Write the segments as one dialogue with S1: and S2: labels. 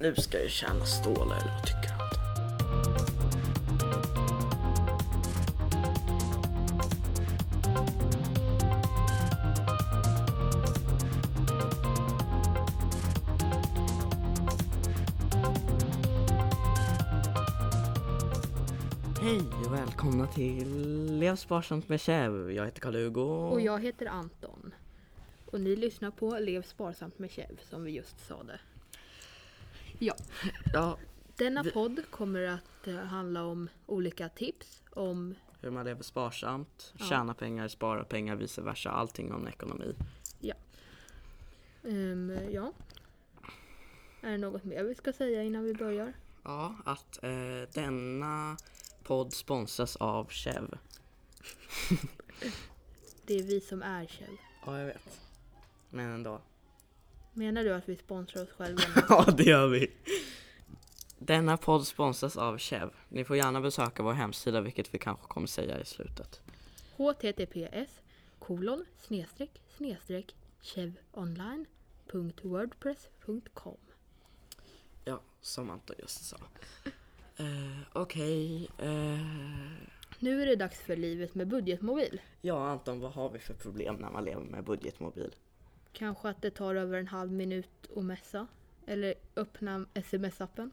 S1: Nu ska jag tjäna stålar eller vad tycker han? Hej och välkomna till Lev sparsamt med Kjell. Jag heter Karl-Hugo.
S2: Och jag heter Anton. Och ni lyssnar på Lev sparsamt med Kjev som vi just sade. Ja,
S1: Ja,
S2: denna podd kommer att eh, handla om olika tips om
S1: hur man lever sparsamt, tjäna pengar, spara pengar, vice versa. Allting om ekonomi.
S2: Ja. Ehm, ja. Är det något mer vi ska säga innan vi börjar?
S1: Ja, att eh, denna podd sponsras av Chev.
S2: Det är vi som är Kjev.
S1: Ja, jag vet. Men ändå.
S2: Menar du att vi sponsrar oss själva?
S1: Ja, det gör vi. Denna podd sponsras av Chev. Ni får gärna besöka vår hemsida, vilket vi kanske kommer säga i slutet.
S2: https kolon snedstreck snedstreck chevonline.wordpress.com
S1: Ja, som Anton just sa. Eh, Okej. Eh,
S2: Nu är det dags för livet med budgetmobil.
S1: ja, Anton, vad har vi för problem när man lever med budgetmobil?
S2: Kanske att det tar över en halv minut att messa. Eller öppna sms-appen.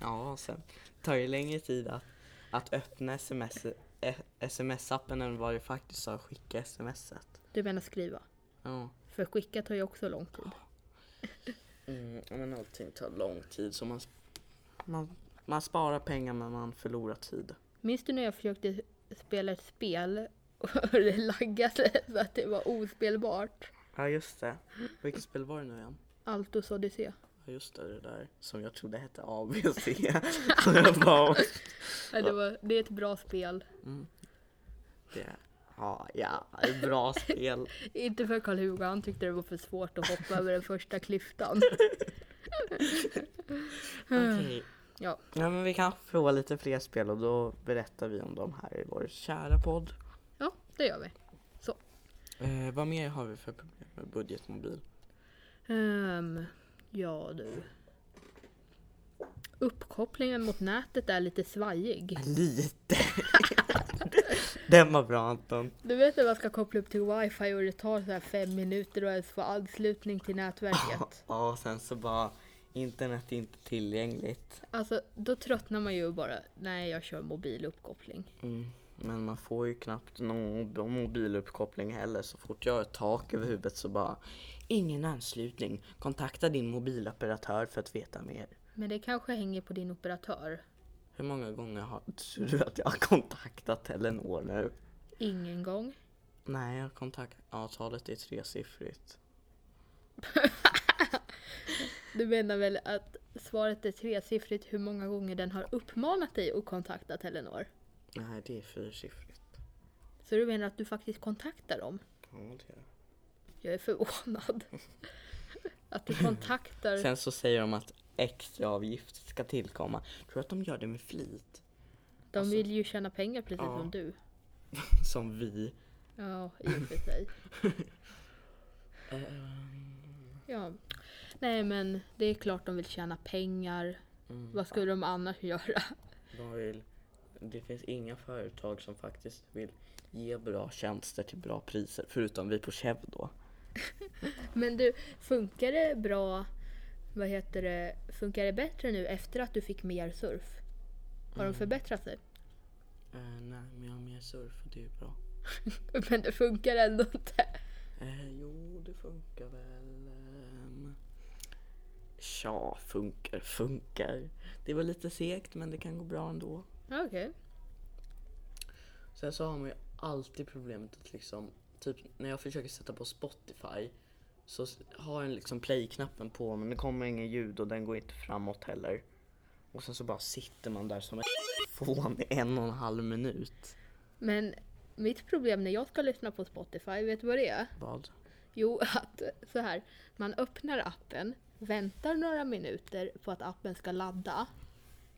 S1: Ja, sen tar ju längre tid att, att öppna sms, eh, sms-appen än vad det faktiskt har skicka smset.
S2: Du menar skriva.
S1: Ja.
S2: För skicka tar ju också lång tid.
S1: Mm, ja, men allting tar lång tid så man, man, man sparar pengar men man förlorar tid.
S2: Minns du när jag försökte spela ett spel och det laggade så att det var ospelbart?
S1: Ja just det. Vilket spel var det nu igen?
S2: Altos Odyssé.
S1: Ja just det, det där som jag trodde hette ABC. så jag bara,
S2: Nej, Det, var, det är ett bra spel.
S1: det, ja, ja, bra spel.
S2: Inte för Karl-Hugo, han tyckte det var för svårt att hoppa över den första klyftan.
S1: Okej.
S2: Ja,
S1: Ja, men vi kanske får lite fler spel och då berättar vi om dem här i vår kära podd.
S2: ja det gör vi. Så.
S1: Eh, vad mer har vi för problem med budgetmobil?
S2: Ehm, ja du. Uppkopplingen mot nätet är lite svajig.
S1: Lite! Den var bra Anton.
S2: Du vet när man ska koppla upp till wifi och det tar så här fem minuter att ens få anslutning till nätverket.
S1: Ja, och sen så bara internet är inte tillgängligt.
S2: Alltså då tröttnar man ju och bara, nej jag kör mobiluppkoppling.
S1: Mm. Men man får ju knappt någon mob- mobiluppkoppling heller. Så fort jag har ett tak över huvudet så bara ingen anslutning. Kontakta din mobiloperatör för att veta mer.
S2: Men det kanske hänger på din operatör.
S1: Hur många gånger har tror du att jag har kontaktat Telenor nu?
S2: Ingen gång.
S1: Nej, jag har kontakt... avtalet är tresiffrigt.
S2: Du menar väl att svaret är tresiffrigt hur många gånger den har uppmanat dig att kontakta Telenor?
S1: Nej, det är fyrsiffrigt.
S2: Så du menar att du faktiskt kontaktar dem?
S1: Ja, det är det.
S2: Jag är förvånad. Att du kontaktar...
S1: Sen så säger de att extra avgift ska tillkomma. Tror du att de gör det med flit?
S2: De vill ju tjäna pengar precis
S1: alltså- Ja.
S2: som du.
S1: Som vi.
S2: Ja, i och för sig.
S1: Eh,
S2: Ja. Nej men det är klart de vill tjäna pengar. Vad skulle de annars göra?
S1: De vill, det finns inga företag som faktiskt vill ge bra tjänster till bra priser. Förutom vi på Chev då.
S2: Men du, funkar det bra? Vad heter det? Funkar det bättre nu efter att du fick mer surf? Har de förbättrat sig?
S1: Eh, nej, men jag har mer surf och det är bra.
S2: Men det funkar ändå inte.
S1: Eh, jo, det funkar väl. Um... Tja, funkar, funkar. Det var lite segt men det kan gå bra ändå.
S2: Okej.
S1: Sen så har man ju alltid problemet att liksom, typ när jag försöker sätta på Spotify så s- har den liksom play-knappen på men det kommer ingen ljud och den går inte framåt heller. Och sen så bara sitter man där som en fån i en och en halv minut.
S2: Men mitt problem när jag ska lyssna på Spotify, vet du vad det är?
S1: Vad?
S2: Jo, att så här. Man öppnar appen, väntar några minuter på att appen ska ladda.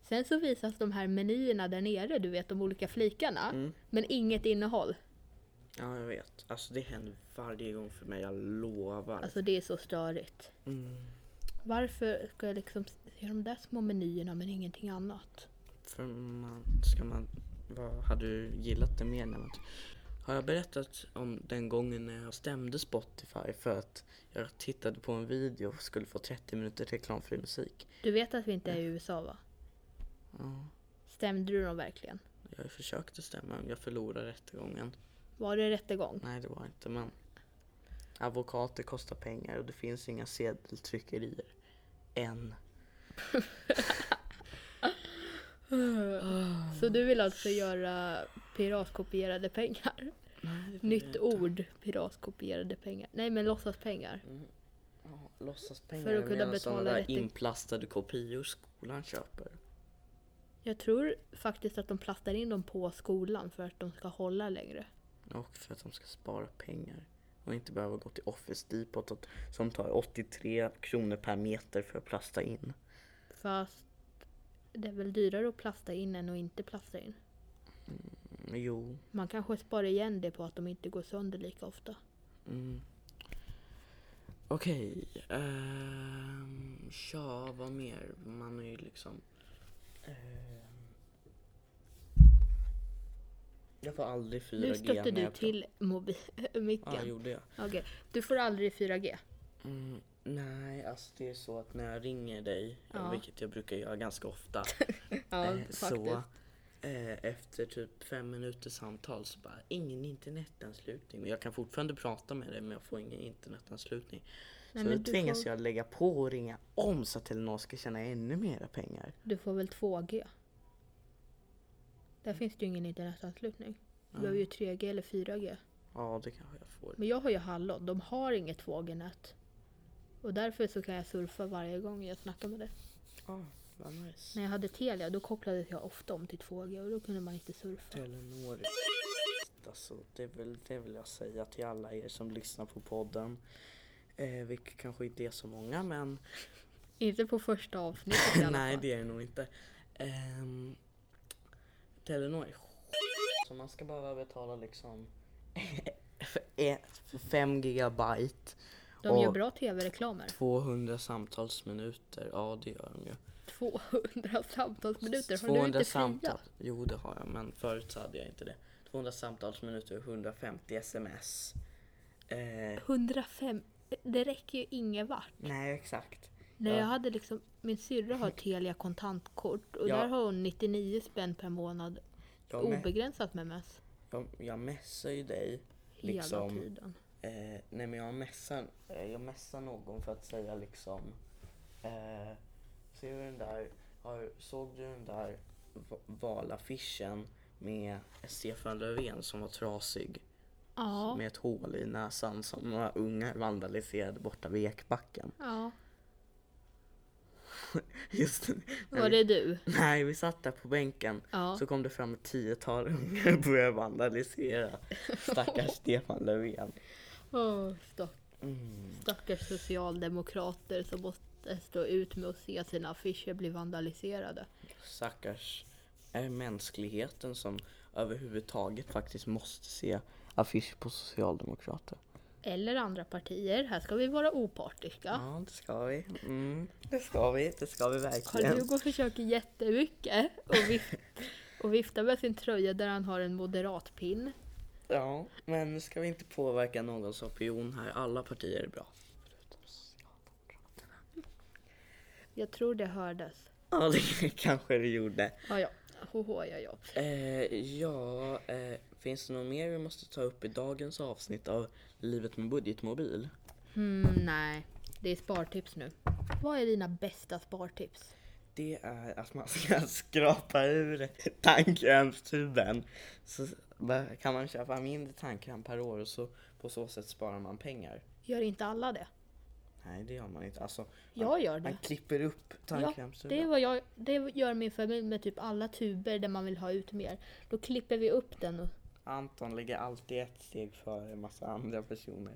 S2: Sen så visas de här menyerna där nere, du vet de olika flikarna. Men inget innehåll.
S1: Ja, jag vet. Alltså det händer varje gång för mig, jag lovar.
S2: Alltså det är så störigt. Varför ska jag liksom se de där små menyerna men ingenting annat?
S1: För man, ska man, vad hade du gillat det mer? När man, har jag berättat om den gången när jag stämde Spotify för att jag tittade på en video och skulle få 30 minuter reklamfri musik?
S2: Du vet att vi inte är i USA va?
S1: Ja,
S2: Stämde du dem verkligen?
S1: jag försökte stämma men jag förlorade rättegången.
S2: Var det rättegång?
S1: Nej, det var inte men advokater kostar pengar och det finns inga sedeltryckerier. Än.
S2: Så du vill alltså göra piratkopierade pengar?
S1: Nej, det
S2: Nytt ord, piratkopierade pengar. Nej men låtsas pengar.
S1: Ja, låtsaspengar.
S2: För att kunna
S1: Jag menar såna
S2: betala
S1: där
S2: rätte-
S1: inplastade kopior skolan köper.
S2: Jag tror faktiskt att de plastar in dem på skolan för att de ska hålla längre.
S1: Och för att de ska spara pengar. Och inte behöva gå till Office Depot och- som tar 83 kronor per meter för att plasta in.
S2: Fast det är väl dyrare att plasta in än att inte plasta in.
S1: Mm, Jo.
S2: Man kanske sparar igen det på att de inte går sönder lika ofta.
S1: Mm. Okej. ehm, tja, vad mer? Man är ju liksom... ehm, jag får aldrig 4G
S2: Nu stötte
S1: när
S2: du
S1: jag
S2: till mobi-
S1: pratar. Ja,
S2: micken.
S1: gjorde jag.
S2: Okej, du får aldrig 4G.
S1: Mm, nej, alltså det är så att när jag ringer dig,
S2: Ja.
S1: vilket jag brukar göra ganska ofta,
S2: Ja,
S1: eh,
S2: faktiskt.
S1: så eh, efter typ fem minuters samtal så bara ingen internetanslutning. Men Jag kan fortfarande prata med dig men jag får ingen internetanslutning.
S2: Nej,
S1: så
S2: men
S1: då
S2: du
S1: tvingas
S2: får-
S1: jag lägga på och ringa om så att Telenor ska tjäna ännu mera pengar.
S2: Du får väl 2G? Där finns det ju ingen internetanslutning. Du behöver ju 3G eller 4G.
S1: Ja, det kanske jag får.
S2: Men jag har ju Hallon, de har inget 2G-nät. Och därför så kan jag surfa varje gång jag snackar med dig.
S1: Ja, vad nice.
S2: När jag hade Telia då kopplades jag ofta om till 2G och då kunde man inte surfa.
S1: Telenor. Alltså, det, vill, det vill jag säga till alla er som lyssnar på podden. Eh, vilket kanske inte är så många men
S2: Inte på första avsnittet i alla
S1: Nej
S2: fall.
S1: det är det nog inte. Um, Telenor är skit, Så man ska bara betala liksom ett- för 5 gigabyte.
S2: De gör
S1: och-
S2: bra tv-reklamer.
S1: 200 samtalsminuter. Ja det gör de ju.
S2: 200 samtalsminuter, har du
S1: 200
S2: inte
S1: samtal.
S2: fria?
S1: Jo det har jag men förut så hade jag inte det. 200 samtalsminuter och 150 sms. Eh,
S2: 105, det räcker ju ingen vart.
S1: nej exakt.
S2: Nej,
S1: Mm. Ja.
S2: jag hade liksom, min syrra har Telia kontantkort och
S1: Ja.
S2: där har hon 99 spänn per månad
S1: Jag, me-
S2: obegränsat med mess.
S1: jag, jag messar ju dig.
S2: Hela
S1: Liksom.
S2: tiden.
S1: Eh, nej men jag messar, eh, jag messar någon för att säga liksom eh, Ser du den där, har, såg du den där v- valaffischen med Stefan Löfven som var trasig?
S2: Ja,
S1: Med ett hål i näsan som några ungar vandaliserade borta vid Ekbacken.
S2: ja.
S1: Just det.
S2: Var det du?
S1: Nej, vi satt där på bänken.
S2: Ja.
S1: Så kom det fram ett tiotal ungar och började vandalisera stackars Stefan Löfven.
S2: Åh, stack,
S1: Mm.
S2: stackars socialdemokrater som måste stå ut med att se sina affischer bli vandaliserade.
S1: stackars är mänskligheten som överhuvudtaget faktiskt måste se affischer på socialdemokrater.
S2: Eller andra partier, här ska vi vara opartiska.
S1: Ja, det ska vi. Mm, det ska vi. Det ska vi
S2: Carl
S1: verkligen.
S2: Hugo försöker jättemycket och, vif- och vifta med sin tröja där han har en moderat pin.
S1: Ja, men nu ska vi inte påverka någons opinion här. Alla partier är bra.
S2: Jag tror det hördes.
S1: Ja, det kanske det gjorde.
S2: Ja, ja. Hoho, ja, ja.
S1: Eh, ja, eh, finns det något mer vi måste ta upp i dagens avsnitt av Livet med budgetmobil?
S2: Mm, nej, det är spartips nu. Vad är dina bästa spartips?
S1: Det är att man ska skrapa ur tandkrämstuben. Så kan man köpa mindre tandkräm per år och så på så sätt sparar man pengar.
S2: Gör inte alla det?
S1: Nej det gör man inte. Alltså,
S2: Jag gör
S1: man
S2: det.
S1: klipper upp
S2: Ja,
S1: tandkrämstuben.
S2: det, är vad jag, det gör min familj med typ alla tuber där man vill ha ut mer. Då klipper vi upp den och
S1: Anton ligger alltid ett steg före en massa andra personer.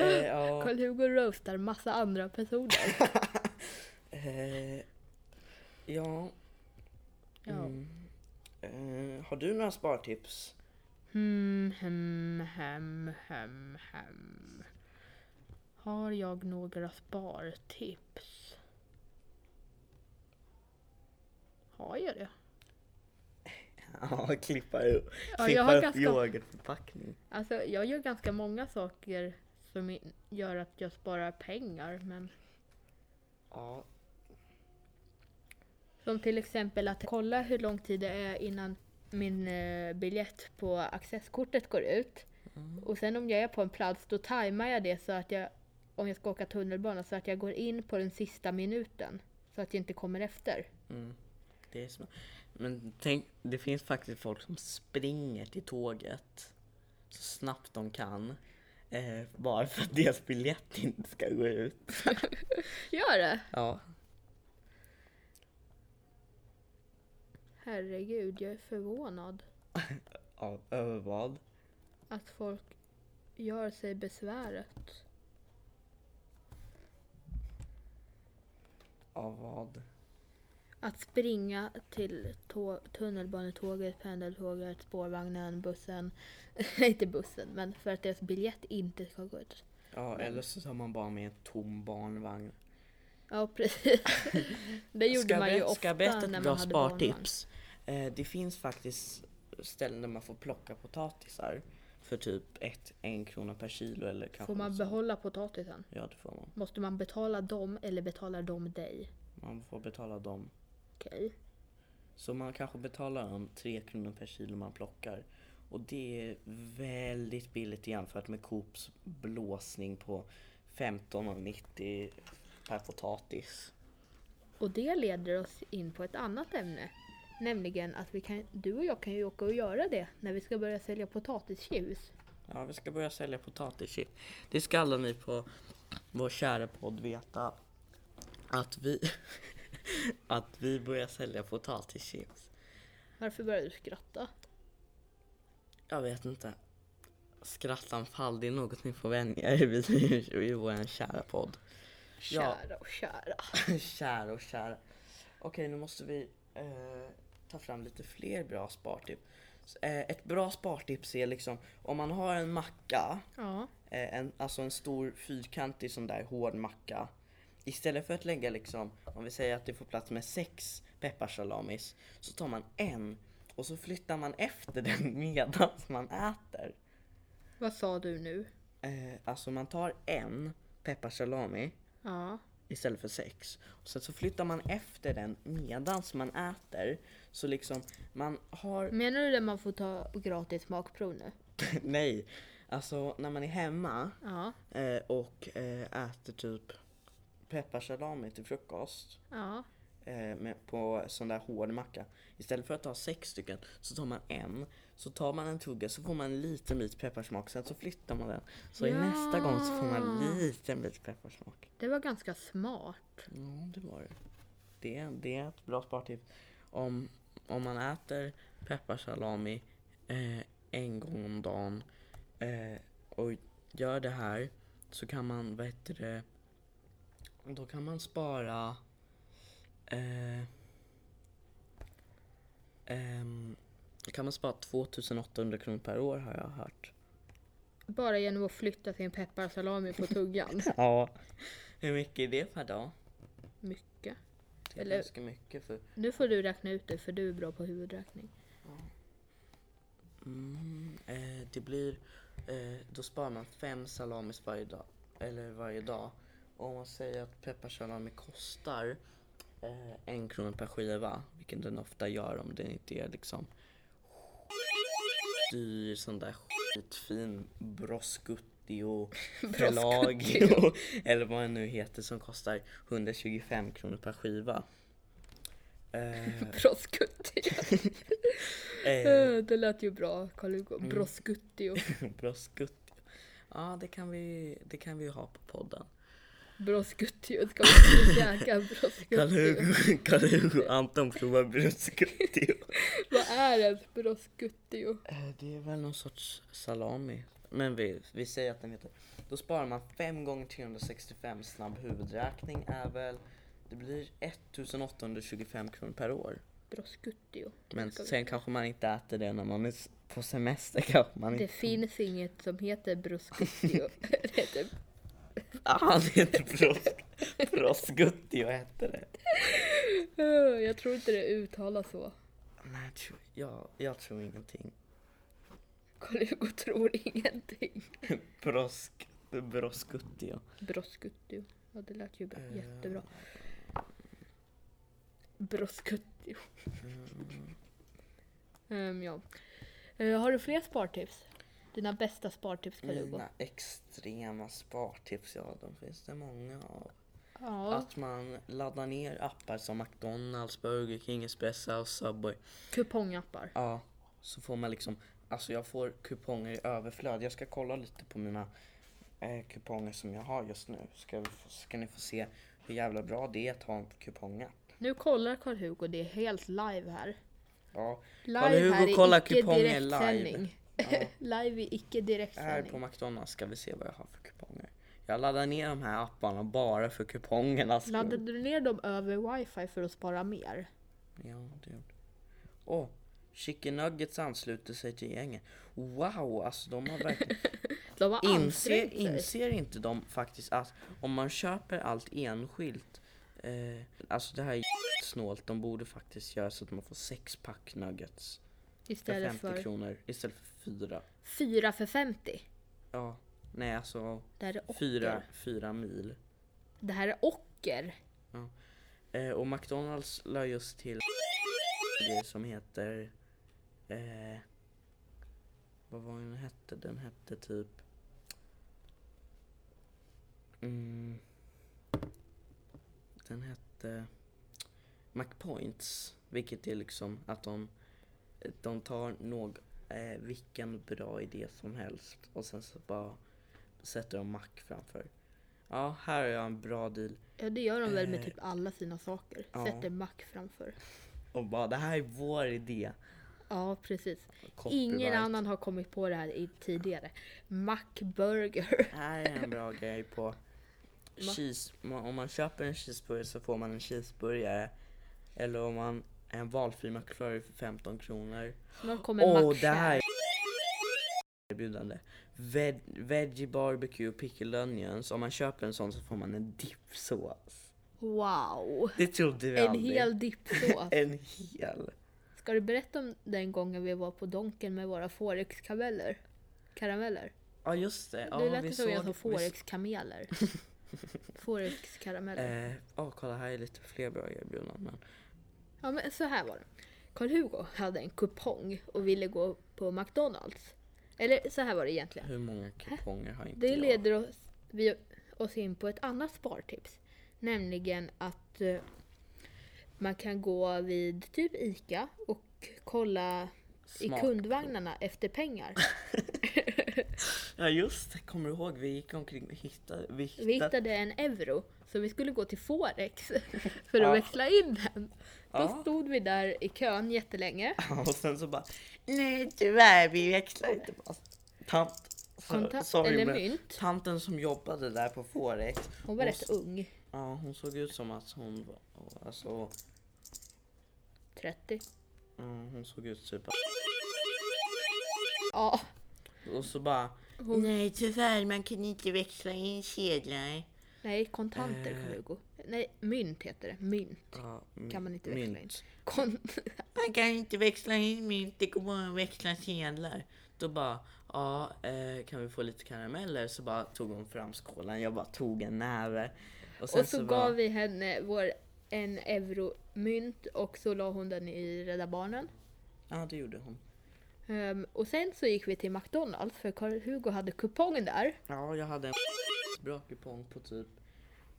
S1: eh, ja,
S2: Karl-Hugo roastar massa andra personer.
S1: eh, ja.
S2: Ja.
S1: Mm. Eh, har du några spartips?
S2: Hmm, hem, hem, hem, hem. Har jag några spartips? Har jag det?
S1: Ja, klippa upp,
S2: Ja, jag
S1: klippa
S2: har
S1: upp
S2: ganska-
S1: yoghurtförpackning.
S2: Alltså jag gör ganska många saker som i- gör att jag sparar pengar men
S1: Ja,
S2: som till exempel att kolla hur lång tid det är innan min eh, biljett på accesskortet går ut. Och sen om jag är på en plats då tajmar jag det så att jag om jag ska åka tunnelbana så att jag går in på den sista minuten så att jag inte kommer efter.
S1: mm. det är smart. Men tänk, det finns faktiskt folk som springer till tåget så snabbt de kan. Eh, bara för att deras biljett inte ska gå ut.
S2: Gör det!
S1: Ja.
S2: Herregud, jag är förvånad
S1: ja över vad?
S2: att folk gör sig besväret.
S1: Av vad?
S2: Att springa till tå- tunnelbanetåget, pendeltåget, spårvagnen, bussen. Nej, inte bussen, men för att deras biljett inte ska gå ut.
S1: Ja, eller så tar man bara med en tom barnvagn.
S2: Ja, precis. Det gjorde
S1: ska
S2: man
S1: jag
S2: ju
S1: ber-
S2: ofta
S1: ska jag berätta
S2: när
S1: ett
S2: man
S1: bra
S2: hade barnvagn.
S1: spartips? Eh, det finns faktiskt ställen där man får plocka potatisar för typ ett, en krona per kilo eller kanske
S2: Får man
S1: något sånt.
S2: behålla potatisen?
S1: Ja det får man.
S2: Måste man betala dem eller betalar de dig?
S1: Man får betala dem.
S2: Okej.
S1: Så man kanske betalar om tre kronor per kilo man plockar. Och det är väldigt billigt jämfört med Coops blåsning på 15,90 per potatis.
S2: Och det leder oss in på ett annat ämne. Nämligen att vi kan, du och jag kan ju åka och göra det när vi ska börja sälja potatischips.
S1: Ja, vi ska börja sälja potatischips. Det ska alla ni på vår kära podd veta. Att vi, att vi börjar sälja potatischips.
S2: Varför börjar du skratta?
S1: Jag vet inte. Skrattanfall, det är något ni får vänja er vid i vår kära podd. Ja.
S2: Kära och kära.
S1: kära och kära. Okej, nu måste vi eh, ta fram lite fler bra spartips. S- Eh, ett bra spartips är liksom om man har en macka
S2: Ja.
S1: eh, en, alltså en stor fyrkantig sån där hård macka. Istället för att lägga liksom, om vi säger att det får plats med sex pepparsalamis, så tar man en och så flyttar man efter den medan man äter.
S2: Vad sa du nu?
S1: Eh, alltså man tar en pepparsalami
S2: Ja.
S1: istället för sex. Och sen så flyttar man efter den medan man äter. Så liksom, man har
S2: Menar du det man får ta gratis smakprov nu?
S1: Nej, alltså när man är hemma
S2: Ja.
S1: eh, och eh, äter typ pepparsalami till frukost
S2: Ja.
S1: eh, med, på sån där hård macka. Istället för att ta sex stycken så tar man en, så tar man en tugga så får man en liten bit pepparsmak, sen så flyttar man den. Så i
S2: Ja.
S1: nästa gång så får man en liten bit pepparsmak.
S2: Det var ganska smart.
S1: Ja, det var det. Det, är- det är ett bra spartips. Om, om man äter pepparsalami eh, en gång om dagen eh, och gör det här så kan man, vad heter det, då kan man spara eh, ehm, då kan man spara 2800 kronor per år har jag hört.
S2: Bara genom att flytta sin pepparsalami på tuggan.
S1: Ja. Hur mycket är det per dag?
S2: Mycket.
S1: Det är
S2: Eller-
S1: ganska mycket för
S2: Nu får du räkna ut det för du är bra på huvudräkning.
S1: Mm, eh, det blir, eh, då sparar man fem salamis varje dag. Eller varje dag. Och om man säger att pepparsalami kostar eh, en krona per skiva, vilket den ofta gör om den inte är liksom dyr sån där skitfin broskutti och pelagio eller vad den nu heter som kostar 125 kronor per skiva. Eh,
S2: Broskutti.
S1: eh,
S2: Eh, Det lät ju bra, Carl Hugo.
S1: Mm.
S2: Broskutti och
S1: Bröstgutt. Ja, det kan vi det kan vi ju ha på podden.
S2: broskutti. och Ska vi käka broskutti?
S1: Karl-Hugo Karl-Hugo och Anton provar bröstguttio.
S2: Vad är ens broskutti?
S1: Eh, Det är väl någon sorts salami. Men vi, vi säger att den heter. Då sparar man 5 gånger 365 snabb huvudräkning är väl det blir 1825 kronor per år.
S2: Broskutti.
S1: Men
S2: Ska vi-
S1: sen kanske man inte äter det när man är s- på semester kanske man
S2: Det
S1: inte.
S2: finns inget som heter broskutti. Det heter
S1: Ah, han heter Pros- Prosgutti, vad hette det?
S2: Eh, Jag tror inte det uttalas så.
S1: Nej, jag tror, jag, jag tror ingenting.
S2: Carl-Hugo tror ingenting.
S1: Prosk, Prosgutti, ja.
S2: Broskuttio. Ja, det lät ju bra.
S1: Eh.
S2: jättebra. Broskuttio.
S1: mm,
S2: Ehm, ja. Eh, har du fler spartips? Dina bästa spartips Carl-Hugo?
S1: Mina extrema spartips, ja de finns det många av.
S2: Ja,
S1: Att man laddar ner appar som McDonalds, Burger King, Espresso och Subway.
S2: kupongappar.
S1: Ja, så får man liksom, alltså jag får kuponger i överflöd. Jag ska kolla lite på mina eh, kuponger som jag har just nu. Ska, vi få, ska ni få se hur jävla bra det är att ha en kupongapp.
S2: Nu kollar Carl-Hugo det är helt live här.
S1: Ja,
S2: Live
S1: Carl-Hugo
S2: här är
S1: kollar
S2: icke
S1: kuponger live.
S2: direktsändning.
S1: Ja.
S2: live är icke
S1: här på
S2: direktsändning.
S1: McDonalds ska vi se vad jag har för kuponger. Jag laddar ner de här apparna bara för kupongerna skull.
S2: Laddade du ner dem över wifi för att spara mer?
S1: Ja, det gjorde Åh, oh, Chicken Nuggets ansluter sig till gänget. Wow, alltså de har verkligen...
S2: De har
S1: inser,
S2: ansträngt sig.
S1: inser inte de faktiskt att om man köper allt enskilt, eh, alltså det här är snålt, de borde faktiskt göra så att man får sex pack nuggets för
S2: Istället
S1: 50
S2: för
S1: kronor istället för fyra.
S2: fyra för 50.
S1: Ja, nej alltså
S2: Det här är ocker.
S1: fyra, fyra mil.
S2: Det här är ocker.
S1: Eh, och McDonalds la just till det som heter... Eh, vad var den hette? Den hette typ... Mm, den hette McPoints, vilket är liksom att de, de tar nog eh, vilken bra idé som helst och sen så bara sätter de Mac framför. Ja, här har jag en bra deal.
S2: Ja det gör de väl med
S1: Eh,
S2: typ alla sina saker.
S1: ja.
S2: Sätter mack framför.
S1: Och bara det här är vår idé.
S2: Ja precis.
S1: Copyright.
S2: Ingen annan har kommit på det här i, tidigare. Mackburger.
S1: Här är en bra grej på cheese. ma- Om man köper en cheeseburgare så får man en cheeseburgare. Eller om man en valfri McFlurry för 15 kronor.
S2: Snart kommer
S1: Åh,
S2: Mac
S1: det här
S2: Shack.
S1: är erbjudande. Veg, veggie barbecue pickle onions. Om man köper en sån så får man en dippsås.
S2: Wow.
S1: Det trodde vi
S2: En
S1: aldrig.
S2: hel dippsås.
S1: En hel.
S2: Ska du berätta om den gången vi var på Donken med våra fårexkarameller? Karameller?
S1: Ja just det. Ja,
S2: det lät
S1: vi
S2: det som jag sa
S1: såg- vi
S2: fårexkameler. Fårexkarameller.
S1: Eh, åh, kolla här är lite fler bra erbjudanden.
S2: Ja men så här var det. Karl-Hugo hade en kupong och ville gå på McDonalds. Eller så här var det egentligen.
S1: Hur många kuponger har inte
S2: Det
S1: jag?
S2: leder oss, vi, oss in på ett annat spartips. Nämligen att eh, man kan gå vid typ ICA och kolla i
S1: Smak.
S2: kundvagnarna efter pengar.
S1: Ja just det, kommer du ihåg? Vi gick omkring och hittade... Vi hittade,
S2: Vi hittade en euro så vi skulle gå till Forex för att
S1: Ja.
S2: växla in den. Då
S1: Ja.
S2: stod vi där i kön jättelänge.
S1: Och sen så bara... Nej tyvärr, vi växlar inte på oss." Tant... så-
S2: Kontant
S1: sorry,
S2: eller
S1: men
S2: mynt.
S1: Tanten som jobbade där på Forex.
S2: Hon var
S1: hon,
S2: rätt ung.
S1: Ja, hon såg ut som att hon var... Alltså...
S2: 30.
S1: ja, hon såg ut typ...
S2: Ja.
S1: Och så bara...
S2: Hon-
S1: Nej tyvärr, man kunde inte växla in sedlar.
S2: Nej, kontanter
S1: Eh.
S2: Carl-Hugo. Nej, mynt heter det. Mynt
S1: Ja,
S2: kan man inte växla in.
S1: mynt.
S2: Kon-
S1: Man kan inte växla in mynt, det går bara att växla sedlar. Då bara, ja, eh, kan vi få lite karameller? Så bara tog hon fram skålen, jag bara tog en näve. Och sen
S2: och så,
S1: bara,
S2: gav vi henne vår en euro mynt och så la hon den i Rädda Barnen.
S1: Ja, det gjorde hon.
S2: Ehm, och sen så gick vi till McDonalds för Carl-Hugo hade kupongen där.
S1: Ja, jag hade en bra kupong på typ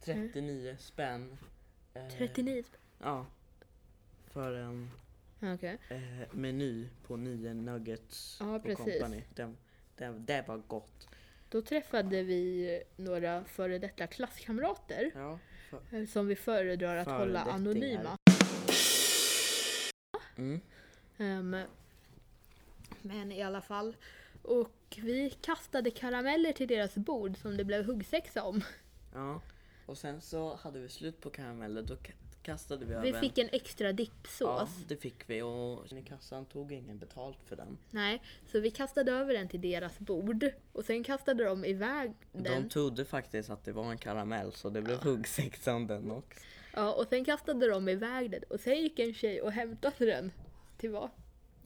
S1: 39 spänn. Eh,
S2: 39 spänn.
S1: Ja. För en
S2: Okej.
S1: eh, meny på nio nuggets
S2: Ja,
S1: och
S2: precis.
S1: company. Den, den, det var gott.
S2: Då träffade vi några före detta klasskamrater
S1: Ja, för,
S2: eh, som vi föredrar att
S1: Före
S2: hålla
S1: dettingar.
S2: anonyma.
S1: mm.
S2: Ehm, men i alla fall. Och vi kastade karameller till deras bord som det blev huggsexa om.
S1: Ja. Och sen så hade vi slut på karameller, då k- kastade vi över
S2: Vi
S1: en-
S2: fick en extra dippsås.
S1: Ja, det fick vi och i kassan tog ingen betalt för den.
S2: Nej, så vi kastade över den till deras bord och sen kastade de iväg den.
S1: De trodde faktiskt att det var en karamell så det blev huggsexa om den också.
S2: Ja, och sen kastade de iväg den och sen gick en tjej och hämtade den tillbaka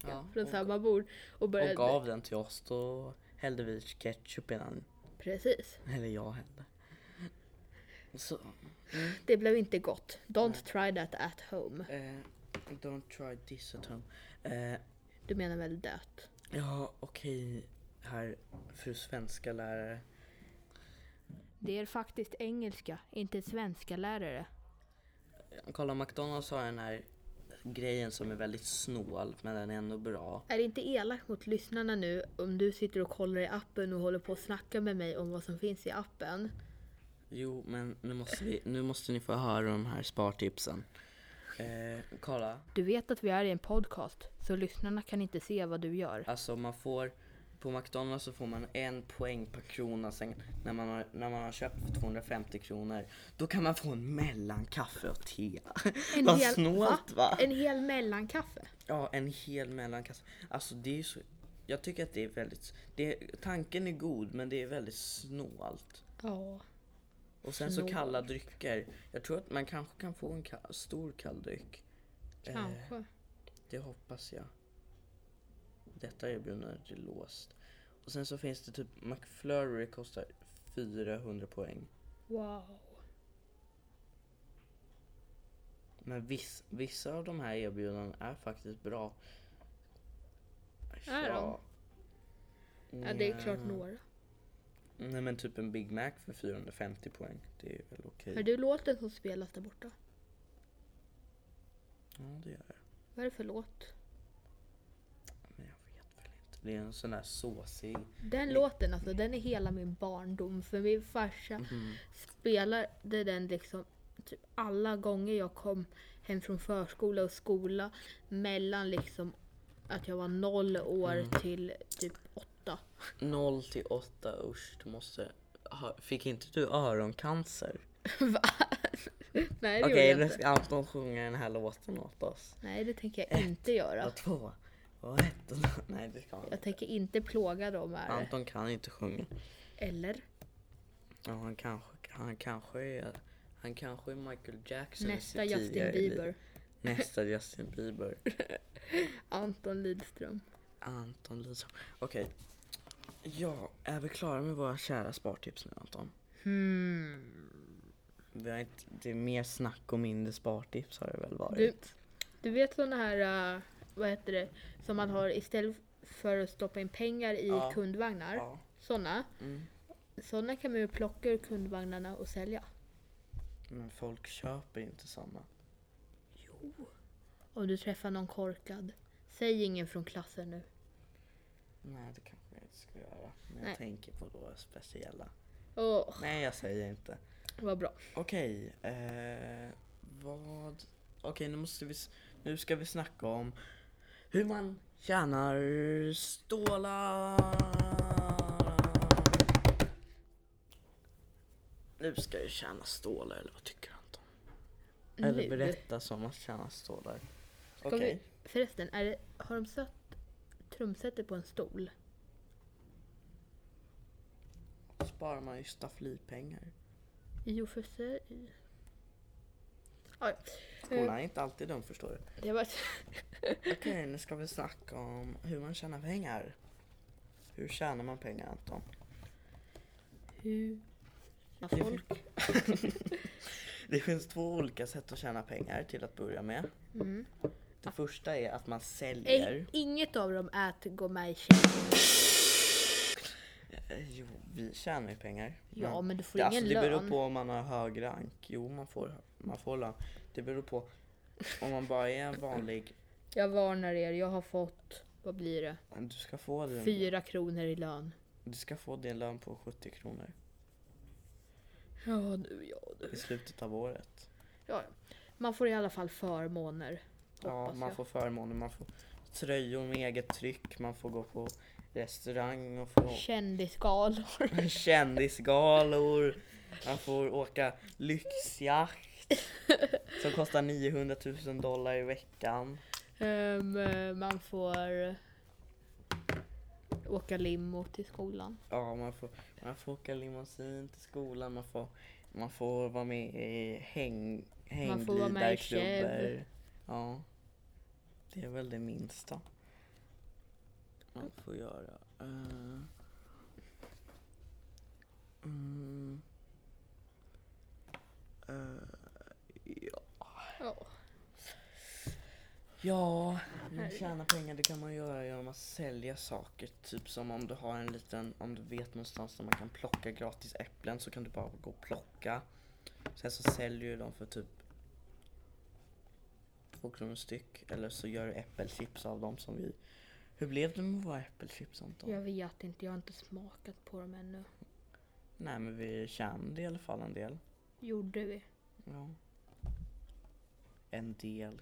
S1: Ja,
S2: från
S1: och,
S2: samma bord och började...
S1: och gav den till oss, då hällde vi ketchup i den.
S2: Precis.
S1: Eller jag hällde. Så,
S2: Det blev inte gott. Don't try that at home.
S1: eh, don't try this at home. Eh,
S2: Du menar väl dött?
S1: ja, okej, herr fru svenska lärare.
S2: Det är faktiskt engelska, inte svenska lärare.
S1: Kolla, McDonalds har den här grejen som är väldigt snål men den är ändå bra.
S2: Är det inte elakt mot lyssnarna nu om du sitter och kollar i appen och håller på att snacka med mig om vad som finns i appen?
S1: Jo, men nu måste, vi, nu måste ni få höra de här spartipsen. Eh, kolla,
S2: Du vet att vi är i en podcast, så lyssnarna kan inte se vad du gör.
S1: alltså man får på McDonalds så får man en poäng per krona sen när man har, när man har köpt för 250 kronor. Då kan man få en mellankaffe och te.
S2: En
S1: Vad
S2: hel-
S1: snålt va?
S2: En hel mellankaffe.
S1: Ja, en hel mellankaffe. Alltså det är ju så, jag tycker att det är väldigt, det, tanken är god men det är väldigt snålt.
S2: Ja.
S1: Och sen så
S2: Snål.
S1: kalla drycker. Jag tror att man kanske kan få en ka- stor kall dryck. Eh,
S2: Kanske.
S1: Det hoppas jag. Detta erbjudandet är låst. Och sen så finns det typ McFlurry kostar 400 poäng.
S2: Wow.
S1: Men viss, vissa av de här erbjudandena är faktiskt bra.
S2: Är de? Ja, det är klart
S1: Nja.
S2: några.
S1: Nej men typ en Big Mac för 450 poäng. Det är väl okej.
S2: Hör du låten som spelas där borta?
S1: Ja det gör jag.
S2: Vad är det för låt?
S1: Men jag vet väl inte. Det är en sån där såsig.
S2: Den låten alltså, den är hela min barndom. För min farsa
S1: Mhm.
S2: spelade den liksom typ alla gånger jag kom hem från förskola och skola. Mellan liksom att jag var noll år
S1: Mm.
S2: till typ åtta.
S1: 0 till 8, usch du måste. Ha, fick inte du öroncancer?
S2: Va? Nej det gjorde
S1: Okej
S2: jag
S1: nu
S2: inte.
S1: ska Anton sjunga den här låten åt oss.
S2: Nej det tänker jag inte göra.
S1: Och två. Och ett. Och nej det ska han
S2: Jag
S1: inte.
S2: tänker inte plåga dem här.
S1: Anton kan inte sjunga.
S2: Eller?
S1: Ja, han kanske, han kanske är, han kanske är Michael Jackson. i
S2: Nästa
S1: sitt
S2: Justin
S1: tidigare liv.
S2: Bieber.
S1: Nästa Justin Bieber.
S2: Anton Lidström.
S1: Anton Lidström. Okej. Ja, är vi klara med våra kära spartips nu Anton? Hmm. Vi har inte, det är mer snack och mindre spartips har det väl varit?
S2: Du, du vet sådana här, eh, vad heter det, som man har istället för att stoppa in pengar i
S1: Ja.
S2: kundvagnar.
S1: Ja.
S2: Sådana.
S1: Mm.
S2: Sådana kan man ju plocka ur kundvagnarna och sälja.
S1: Men folk köper inte sådana.
S2: Om du träffar någon korkad. Säg ingen från klassen nu.
S1: Nej, det kanske jag inte ska göra. Men
S2: Nej.
S1: jag tänker på då speciella.
S2: Åh,
S1: Nej, jag säger inte.
S2: vad bra.
S1: Okej, eh, vad... Okej, nu måste vi... s- Nu ska vi snacka om hur man tjänar stålar. Nu ska jag tjäna stålar, eller vad tycker Anton? Eller
S2: nu.
S1: berätta som att tjäna stålar.
S2: Ska
S1: Okej,
S2: vi, förresten, är det, har de satt trumsetet på en stol?
S1: sparar man ju stafflipengar.
S2: Jo, för sig. Oj.
S1: Skolan är inte alltid dum, förstår du.
S2: Det var...
S1: Okej, nu ska vi snacka om hur man tjänar pengar. Hur tjänar man pengar, Anton?
S2: Hur... Folk.
S1: Det finns två olika sätt att tjäna pengar till att börja med.
S2: Mm.
S1: Det första är att man säljer.
S2: Ej, inget av dem är att gå med i tjänst.
S1: Eh, Jo, vi tjänar ju pengar.
S2: Ja, men du får
S1: det,
S2: ingen
S1: alltså, Det beror
S2: lön.
S1: på om man har hög rank. Jo, man får, man får lön. Det beror på om man bara är en vanlig...
S2: Jag varnar er, jag har fått, vad blir det?
S1: Du ska få din,
S2: Fyra kronor i lön.
S1: du ska få din lön på 70 kronor
S2: Ja du, ja
S1: i
S2: du.
S1: slutet av året.
S2: Ja, ja. man får i alla fall förmåner.
S1: Ja,
S2: hoppas
S1: man
S2: jag.
S1: får förmåner, man får tröjor med eget tryck, man får gå på restaurang och få
S2: Kändisgalor.
S1: kändisgalor. Han får åka lyxjakt som kostar 900 000 dollar i veckan.
S2: Ehm, eh, man får åka limo till skolan.
S1: Ja, man får, man får åka limousin till skolan, man får, man får vara med i häng,
S2: Man får vara med i
S1: hängglidarklubbor. Ja. Det är väl det minsta man får göra. Eh. Mm. Eh, ja.
S2: Ja.
S1: Ja, men
S2: Herregud.
S1: tjäna pengar det kan man göra genom att sälja saker. Typ som om du har en liten, om du vet någonstans där man kan plocka gratis äpplen så kan du bara gå och plocka. Sen så säljer du dem för typ två kronor styck eller så gör du äppelchips av dem som vi. Hur blev det med våra äppelchips Anton?
S2: Jag vet inte, jag har inte smakat på dem ännu.
S1: Nej men vi tjänade i alla fall en del.
S2: Gjorde vi?
S1: Ja. En del.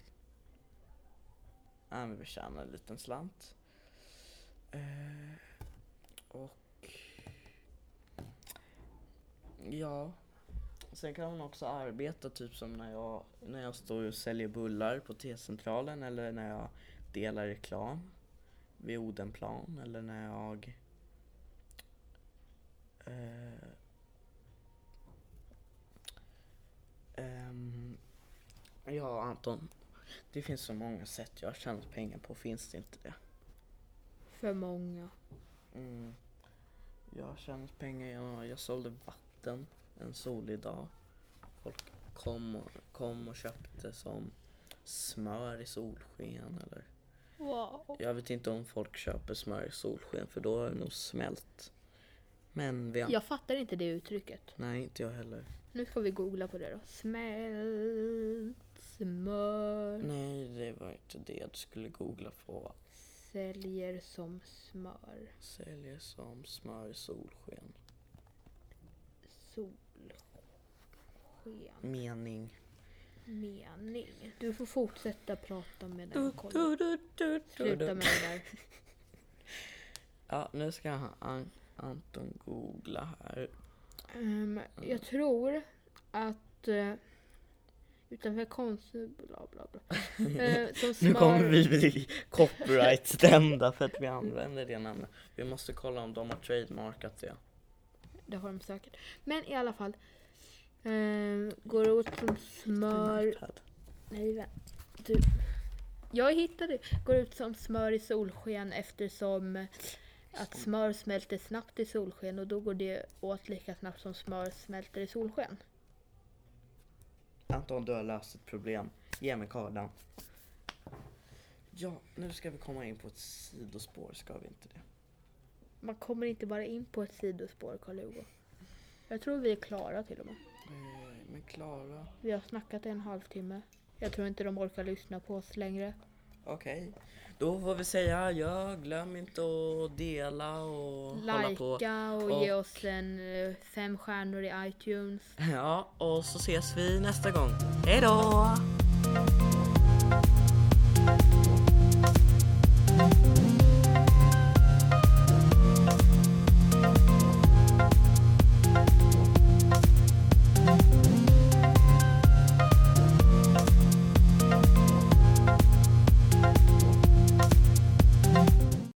S1: Ja, men vi tjänar en liten slant. Eh, och... Ja. Sen kan man också arbeta typ som när jag, när jag står och säljer bullar på T-centralen eller när jag delar reklam vid Odenplan eller när jag... Eh, Ehm, ja, Anton. Det finns så många sätt jag har tjänat pengar på, finns det inte det?
S2: För många.
S1: Mm. Jag har tjänat pengar, jag, jag sålde vatten en solig dag. Folk kom och, kom och köpte som smör i solsken eller...
S2: Wow.
S1: Jag vet inte om folk köper smör i solsken för då har det nog smält. Men vi har...
S2: Jag fattar inte det uttrycket.
S1: Nej, inte jag heller.
S2: Nu ska vi googla på det då. Smält, smör,
S1: Nej, det var inte det du skulle googla på.
S2: säljer som smör.
S1: Säljer som smör i solsken.
S2: Solsken.
S1: Mening.
S2: Mening. Du får fortsätta prata med
S1: Du,
S2: den.
S1: du,
S2: Kolla.
S1: du, du, du,
S2: Sluta
S1: du.
S2: med det där.
S1: Ja, nu ska han, An- Anton googla här. Mm.
S2: Ehm, jag tror att eh, utanför konst... Bla, bla, bla. Eh, som smör,
S1: Nu kommer vi bli copyright-stämda för att vi använder det namnet. Vi måste kolla om de har trademarkat det.
S2: Det har de säkert. Men i alla fall. ehm, går det åt som smör... Nej, vänta. Du. Jag hittade. Går ut som smör i solsken eftersom att smör smälter snabbt i solsken och då går det åt lika snabbt som smör smälter i solsken.
S1: Anton, du har löst ett problem. Ge mig kardan. Ja, nu ska vi komma in på ett sidospår, ska vi inte det?
S2: Man kommer inte bara in på ett sidospår, Karl-Hugo. Jag tror vi är klara till och med.
S1: Eh, Men Klara...
S2: Vi har snackat i en halvtimme. Jag tror inte de orkar lyssna på oss längre.
S1: Okej. Då får vi säga ja, glöm inte att dela och hålla på.
S2: Lajka och, ge
S1: och-
S2: oss en eh, fem stjärnor i iTunes.
S1: Ja, och så ses vi nästa gång. Hej då!